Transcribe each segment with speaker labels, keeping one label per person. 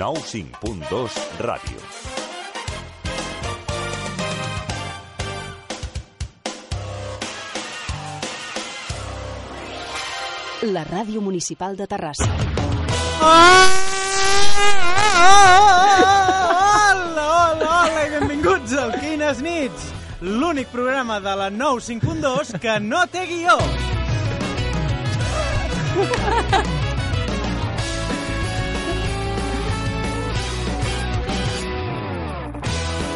Speaker 1: Nou 5.2 Ràdio.
Speaker 2: La ràdio municipal de Terrassa.
Speaker 3: Hola, hola, hola i benvinguts al Quines nits, l'únic programa de la 95.2 que no té guió.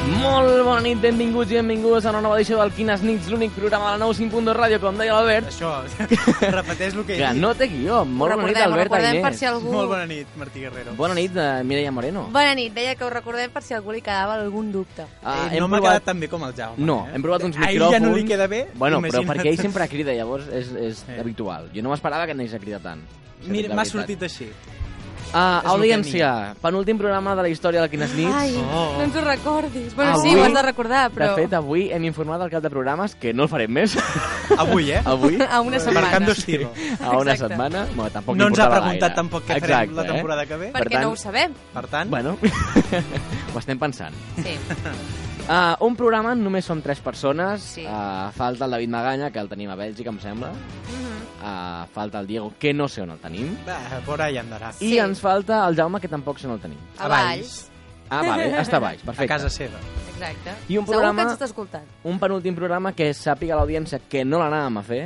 Speaker 4: Molt bona nit, benvinguts i benvingudes a una nova edició del Quines nits, l'únic programa de la 95.2 Ràdio, com deia l'Albert,
Speaker 3: Això, repeteix el que he
Speaker 4: que
Speaker 3: dit.
Speaker 4: no té guió. Molt bona nit,
Speaker 5: recordem, ho
Speaker 4: Albert
Speaker 5: recordem per
Speaker 4: Aguilés.
Speaker 5: si algú...
Speaker 3: Molt bona nit, Martí Guerrero.
Speaker 4: Bona nit, eh, Mireia Moreno.
Speaker 5: Bona nit, deia que ho recordem per si a algú li quedava algun dubte.
Speaker 4: Ah,
Speaker 3: Eh, no m'ha quedat tan bé com el Jaume.
Speaker 4: No,
Speaker 3: eh?
Speaker 4: hem provat uns
Speaker 3: A ell
Speaker 4: micròfons...
Speaker 3: ja no li queda bé,
Speaker 4: Bueno,
Speaker 3: imagina't.
Speaker 4: però perquè ell sempre crida, llavors és, és
Speaker 3: Eh.
Speaker 4: habitual. Jo no m'esperava que anés a cridar tant.
Speaker 3: Mira,
Speaker 4: La
Speaker 3: m'ha
Speaker 4: veritat.
Speaker 3: sortit així.
Speaker 4: Ah,
Speaker 3: És lo que
Speaker 4: audiència, penúltim programa de la història del Quines nits.
Speaker 5: Ai,
Speaker 3: Oh.
Speaker 5: no ens ho recordis. Bueno,
Speaker 4: Avui-
Speaker 5: sí, ho has de recordar, però...
Speaker 4: De fet, avui hem informat al cap de programes que no el farem més.
Speaker 3: Avui, eh?
Speaker 4: avui,
Speaker 5: a una
Speaker 3: Marcant
Speaker 5: setmana.
Speaker 3: dos tiros.
Speaker 4: a una
Speaker 5: Exacte.
Speaker 4: setmana. Bueno, tampoc
Speaker 3: No ens ha
Speaker 4: importava
Speaker 3: preguntat
Speaker 4: gaire.
Speaker 3: tampoc què farem
Speaker 4: Exacte,
Speaker 3: la temporada
Speaker 4: eh?
Speaker 3: que ve.
Speaker 4: Per
Speaker 5: Perquè
Speaker 4: tant-
Speaker 5: no ho sabem.
Speaker 3: Per tant,
Speaker 4: Bueno, ho estem pensant.
Speaker 5: Sí.
Speaker 4: Uh, un programa només som tres persones.
Speaker 5: Sí.
Speaker 4: Uh, falta el David Maganya, que el tenim a Bèlgica, em sembla.
Speaker 5: Mhm.
Speaker 4: Uh, falta el Diego, que no sé on el tenim.
Speaker 3: va, por ahí andarà.
Speaker 4: I ens falta el Jaume, que tampoc sé on el tenim.
Speaker 5: A Valls.
Speaker 4: Ah, vale, està a baix,
Speaker 3: A
Speaker 4: perfecte.
Speaker 3: casa seva.
Speaker 5: Exacte.
Speaker 4: I un
Speaker 5: Segur
Speaker 4: programa-
Speaker 5: que ens està escoltant.
Speaker 4: Un penúltim programa que sàpiga l'audiència que no l'anàvem a fer.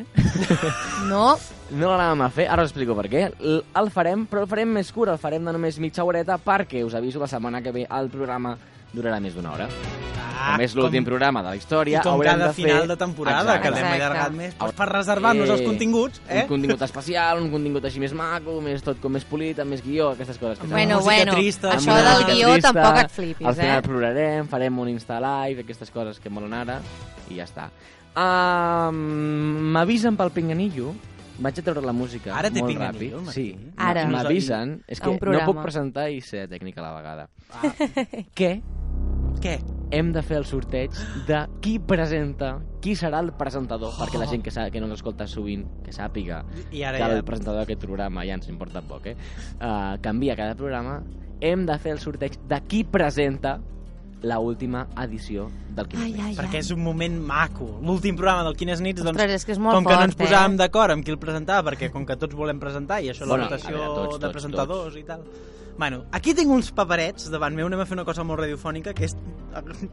Speaker 5: No,
Speaker 4: No l'anàvem a fer, ara us explico per què. L el farem, però el farem més curt, el farem de només mitja horeta, perquè us aviso la setmana que ve el programa durarà més d'una hora.
Speaker 3: Ah,
Speaker 4: com és l'últim programa de la història,
Speaker 3: I com
Speaker 4: haurem
Speaker 3: cada
Speaker 4: de fer...
Speaker 3: final de temporada,
Speaker 4: Exacte.
Speaker 3: que l'hem
Speaker 5: Exacte.
Speaker 3: allargat més, doncs per reservar-nos els
Speaker 4: Eh,
Speaker 3: continguts, eh?
Speaker 4: Un contingut especial, un contingut així més maco, més tot com més polit, amb més guió, aquestes coses. Que
Speaker 5: Bueno,
Speaker 3: música
Speaker 5: bueno,
Speaker 3: trista,
Speaker 4: Amb
Speaker 5: això
Speaker 4: una
Speaker 5: del
Speaker 4: música
Speaker 5: guió
Speaker 4: trista,
Speaker 5: tampoc et flipis,
Speaker 4: Al final
Speaker 5: eh?
Speaker 4: plorarem, farem un Insta Live, aquestes coses que molen ara, i ja està. Um, M'avisen pel pinganillo, vaig a treure la música
Speaker 3: Ara té
Speaker 4: molt
Speaker 3: Pinganillo, el
Speaker 4: ràpid.
Speaker 3: eh? Martí?
Speaker 4: Sí,
Speaker 5: Ara.
Speaker 4: M'avisen, és
Speaker 5: A
Speaker 4: que
Speaker 5: un
Speaker 4: no
Speaker 5: programa.
Speaker 4: puc presentar i ser tècnica a la vegada.
Speaker 3: Ah.
Speaker 4: Què?
Speaker 3: Què?
Speaker 4: hem de fer el sorteig de qui presenta, qui serà el presentador, perquè la
Speaker 3: Oh.
Speaker 4: gent que, sa, que no ens escolta sovint, que sàpiga
Speaker 3: I
Speaker 4: que
Speaker 3: ara ja...
Speaker 4: el presentador d'aquest programa ja ens importa poc, eh? Uh, canvia cada programa, hem de fer el sorteig de qui presenta la última edició del
Speaker 5: Ai,
Speaker 4: Quimera.
Speaker 5: ai, ai.
Speaker 3: perquè és un moment maco. L'últim programa del Quines nits, doncs,
Speaker 5: Ostres, és que és molt
Speaker 3: com que no ens
Speaker 5: fort, eh?
Speaker 3: posàvem d'acord amb qui el presentava, perquè com que tots volem presentar, i això
Speaker 4: Bueno,
Speaker 3: la votació
Speaker 4: a veure, tots,
Speaker 3: de
Speaker 4: tots,
Speaker 3: presentadors i tal... Bueno, aquí tinc uns paperets davant meu, anem a fer una cosa molt radiofònica, que és eh,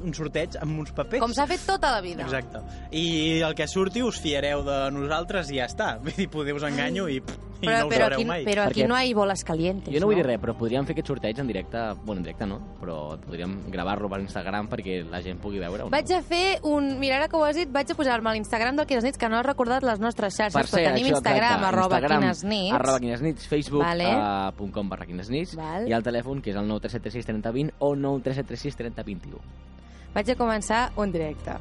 Speaker 3: un sorteig amb uns papers.
Speaker 5: Com s'ha fet tota la vida.
Speaker 3: Exacte. I el que surti us fiareu de nosaltres i ja està. Vull dir, poder us enganyo i, pff, i
Speaker 5: Però,
Speaker 3: no us
Speaker 5: però,
Speaker 3: sabreu
Speaker 5: aquí,
Speaker 3: mai.
Speaker 5: però aquí
Speaker 4: Perquè-
Speaker 5: no hi boles calientes,
Speaker 4: Jo no vull dir res, però podríem fer aquest sorteig en directe, bueno, en directe no, però podríem gravar-lo per Instagram perquè la gent pugui veure.
Speaker 5: Vaig a fer un... Mira, ara que ho has dit, vaig a posar-me a l'Instagram del Quines Nits, que no has recordat les nostres xarxes,
Speaker 4: Per
Speaker 5: però
Speaker 4: cert,
Speaker 5: tenim
Speaker 4: això,
Speaker 5: Instagram,
Speaker 4: exacte,
Speaker 5: arroba
Speaker 4: Instagram,
Speaker 5: Quines Nits.
Speaker 4: Arroba quinesnits,
Speaker 5: Vale.
Speaker 4: facebook.com uh, barra quinesnits,
Speaker 5: Val.
Speaker 4: i el telèfon, que és el 937363020 o 937363021.
Speaker 5: Vaig a començar un directe.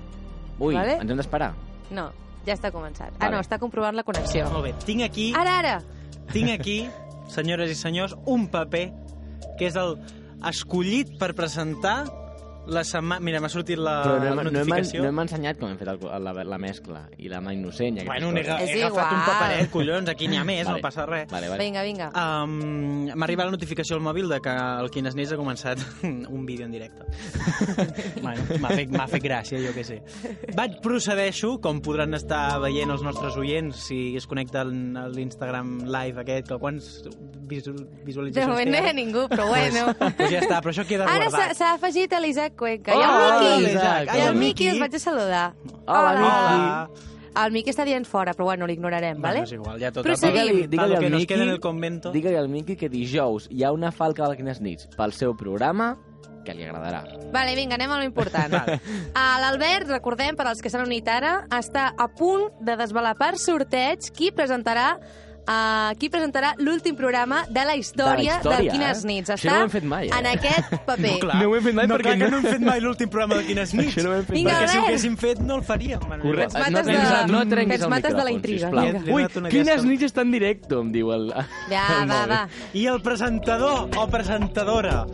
Speaker 4: Ui,
Speaker 5: Vale.
Speaker 4: ens hem d'esperar.
Speaker 5: No, ja està començat. Ah,
Speaker 4: Vale.
Speaker 5: no, està comprovant la connexió.
Speaker 3: Molt bé, tinc aquí...
Speaker 5: Ara, ara!
Speaker 3: tinc aquí, senyores i senyors, un paper que és el escollit per presentar la setmana... Mira, m'ha sortit la,
Speaker 4: Però no,
Speaker 3: la
Speaker 4: hem, no, hem,
Speaker 3: notificació.
Speaker 4: no hem ensenyat com hem fet el, la, la mescla i la mà innocent. I
Speaker 3: Bueno, he, he
Speaker 5: És
Speaker 3: agafat
Speaker 5: igual.
Speaker 3: un paperet, collons, aquí n'hi ha més,
Speaker 4: Vale.
Speaker 3: no passa res.
Speaker 4: Vale, vale.
Speaker 5: Vinga, vinga.
Speaker 3: Um, M'ha arribat la notificació al mòbil de que el Quines Nits ha començat un vídeo en directe. bueno, m'ha fet, m'ha fet gràcia, jo què sé. Vaig procedeixo, com podran estar veient els nostres oients si es connecten a l'Instagram live aquest, que quants visu
Speaker 5: De
Speaker 3: visualitzacions
Speaker 5: moment no hi ha ningú, però bueno.
Speaker 3: Pues, pues ja està, però això queda
Speaker 5: Ara s'ha
Speaker 3: guardat.
Speaker 5: s'ha afegit a l'Isaac Cuenca.
Speaker 4: Oh,
Speaker 5: I el Miqui!
Speaker 4: l'Isaac,
Speaker 5: I
Speaker 4: hola,
Speaker 5: el Miqui els vaig a saludar.
Speaker 4: Hola,
Speaker 3: Hola.
Speaker 5: El Miqui està dient fora, però bueno, l'ignorarem,
Speaker 3: Bueno,
Speaker 5: vale?
Speaker 3: és igual, ja tot
Speaker 5: Procedim.
Speaker 3: Digue-li- digue-li al Miqui-
Speaker 4: Digue-li al Miqui que dijous hi ha una falca de Quines Nits pel seu programa que li agradarà.
Speaker 5: Vale, vinga, anem a l'important. A L'Albert, recordem, per als que s'han unit ara, està a punt de desvelar per sorteig qui presentarà uh, qui presentarà l'últim programa de la història de,
Speaker 4: història,
Speaker 5: Quines
Speaker 4: eh?
Speaker 5: Nits.
Speaker 4: Això
Speaker 5: Està
Speaker 4: no ho hem fet mai, eh?
Speaker 5: en aquest paper.
Speaker 3: No, clar.
Speaker 4: No ho hem fet mai
Speaker 3: no,
Speaker 4: perquè
Speaker 3: clar, que
Speaker 4: no-
Speaker 3: no hem fet mai l'últim programa de Quines Nits.
Speaker 4: Això no ho hem fet
Speaker 5: Vinga,
Speaker 3: perquè si ho
Speaker 5: Albert.
Speaker 3: haguéssim fet no el faríem.
Speaker 4: Correcte. No
Speaker 5: Ens mates
Speaker 4: trenquis,
Speaker 5: de-
Speaker 4: no trenquis
Speaker 5: ens
Speaker 4: el
Speaker 5: mates de la
Speaker 4: micròfon,
Speaker 5: intriga,
Speaker 4: sisplau.
Speaker 3: vinga.
Speaker 4: Ui,
Speaker 3: Li he donat una
Speaker 4: quines
Speaker 3: llàstima.
Speaker 4: nits està en directe, em diu el...
Speaker 5: Ja,
Speaker 3: Molt
Speaker 5: va,
Speaker 3: bé.
Speaker 5: va.
Speaker 3: I el presentador o presentadora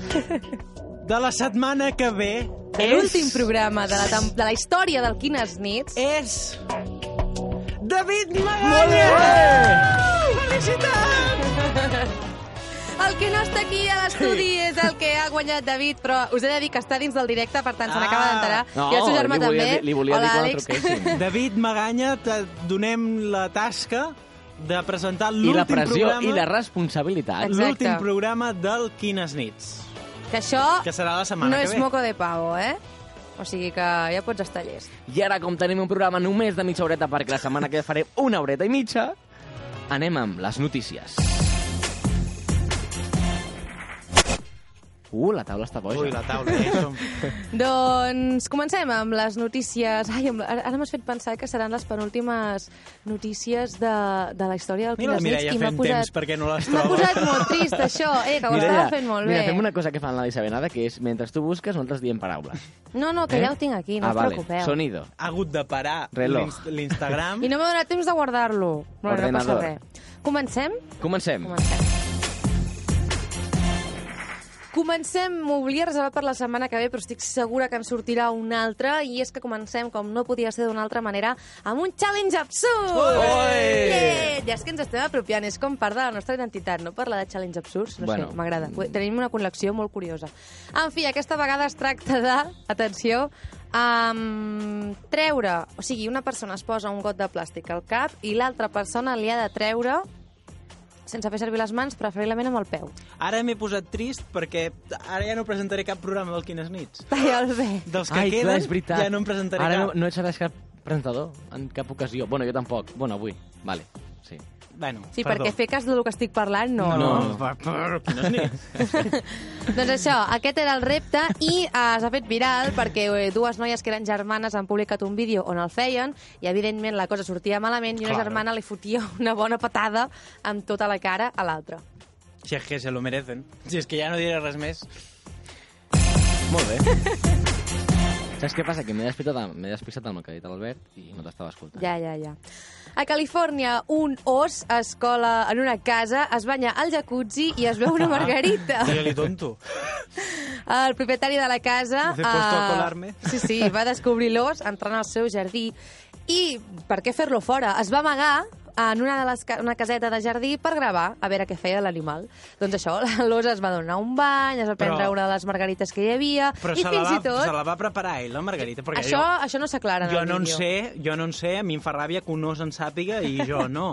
Speaker 3: de la setmana que ve
Speaker 5: L'últim programa de la, tem- de la història del Quines Nits.
Speaker 4: Eh.
Speaker 3: és... David Magallanes! Felicitats!
Speaker 5: El que no està aquí a l'estudi és el que ha guanyat David, però us he de dir que està dins del directe, per tant, se
Speaker 3: Ah.
Speaker 5: n'acaba d'enterar. I el seu germà
Speaker 4: li volia,
Speaker 5: també.
Speaker 4: dir- Li volia
Speaker 5: Hola,
Speaker 4: dir quan
Speaker 5: Àlex.
Speaker 4: truquéssim.
Speaker 3: David Maganya, et donem la tasca de presentar
Speaker 4: I la
Speaker 3: l'últim
Speaker 4: pressió
Speaker 3: programa,
Speaker 4: i la responsabilitat.
Speaker 5: Exacte.
Speaker 3: l'últim programa del Quines Nits,
Speaker 5: Que això
Speaker 3: que serà la setmana
Speaker 5: no
Speaker 3: que
Speaker 5: és
Speaker 3: ve.
Speaker 5: moco de pavo, eh? O sigui que ja pots estar llest.
Speaker 4: I ara, com tenim un programa només de mitja horeta, perquè la setmana que ve faré una horeta i mitja, anem amb les notícies. Uh, la taula està boja.
Speaker 3: Ui, la taula, eh? Som...
Speaker 5: Doncs comencem amb les notícies. Ai, amb, ara ara m'has fet pensar que seran les penúltimes notícies de, de la història del
Speaker 3: Mira la
Speaker 5: Quines
Speaker 3: Mireia
Speaker 5: Nits.
Speaker 3: fent temps perquè no les
Speaker 5: M'ha
Speaker 3: troba.
Speaker 5: posat molt trist, això, eh, que ho estava fent molt
Speaker 4: mira,
Speaker 5: bé.
Speaker 4: fem una cosa que fan la Isabelada, que és, mentre tu busques, nosaltres diem paraules.
Speaker 5: No, no, que
Speaker 4: Eh?
Speaker 5: ja ho tinc aquí, no
Speaker 4: ah,
Speaker 5: us
Speaker 4: vale.
Speaker 5: preocupeu.
Speaker 4: Sonido.
Speaker 3: Ha hagut de parar
Speaker 4: Reloj.
Speaker 3: l'ins- l'Instagram.
Speaker 5: I no m'ha donat temps de guardar-lo. Però no passa
Speaker 4: Ordenador.
Speaker 5: res. Comencem?
Speaker 4: Comencem.
Speaker 5: Comencem. Comencem, m'ho volia reservar per la setmana que ve, però estic segura que en sortirà un altre, i és que comencem, com no podia ser d'una altra manera, amb un challenge absurd!
Speaker 4: Ui!
Speaker 5: Yeah! Ja és que ens estem apropiant, és com part de la nostra identitat, no? Parlar de challenge absurds, no
Speaker 4: Bueno.
Speaker 5: sé, m'agrada. Ho- Tenim una col·lecció molt curiosa. En fi, aquesta vegada es tracta de, atenció, um, treure... O sigui, una persona es posa un got de plàstic al cap i l'altra persona li ha de treure sense fer servir les mans, preferiblement amb el peu.
Speaker 3: Ara m'he posat trist perquè ara ja no presentaré cap programa del Quines Nits.
Speaker 5: Talla el bé.
Speaker 3: Dels que
Speaker 4: Ai,
Speaker 3: queden,
Speaker 4: clar, és veritat.
Speaker 3: ja no en presentaré
Speaker 4: Ara
Speaker 3: cap.
Speaker 4: no, no et seràs cap presentador en cap ocasió. Bueno, jo tampoc. Bueno, avui. Vale, sí.
Speaker 3: Bueno,
Speaker 5: Sí,
Speaker 3: perdó.
Speaker 5: perquè fer cas del que estic parlant, no.
Speaker 3: No,
Speaker 4: No.
Speaker 3: per, per, Quines Nits.
Speaker 5: Doncs això, aquest era el repte i eh, s'ha fet viral perquè eh, dues noies que eren germanes han publicat un vídeo on el feien i, evidentment, la cosa sortia malament i una
Speaker 3: Claro.
Speaker 5: germana li fotia una bona patada amb tota la cara a l'altra.
Speaker 3: Si és que se lo merecen. Si és que ja no diré res més.
Speaker 4: Molt bé. Saps què passa? Que m'he despixat, amb- m'he despixat amb el que ha dit l'Albert i no t'estava escoltant.
Speaker 5: Ja, ja, ja. A Califòrnia, un os es cola en una casa, es banya al jacuzzi i es veu una margarita.
Speaker 3: Digue-li tonto.
Speaker 5: El propietari de la casa...
Speaker 3: Me he puesto a
Speaker 5: eh,
Speaker 3: colarme.
Speaker 5: Sí, sí, va descobrir l'os entrant al seu jardí i, per què fer-lo fora? Es va amagar en una, de les, ca- una caseta de jardí per gravar a veure què feia l'animal. Doncs això, l'os es va donar un bany, es va prendre
Speaker 3: Però-
Speaker 5: una de les margarites que hi havia
Speaker 3: Però
Speaker 5: i
Speaker 3: se la,
Speaker 5: fins
Speaker 3: va,
Speaker 5: i tot...
Speaker 3: se la va preparar ell, la Margarita. Perquè
Speaker 5: Això,
Speaker 3: jo,
Speaker 5: això no s'aclara en
Speaker 3: jo
Speaker 5: el
Speaker 3: no en
Speaker 5: vídeo.
Speaker 3: sé, jo no en sé, a mi em fa ràbia que un os en sàpiga i jo no.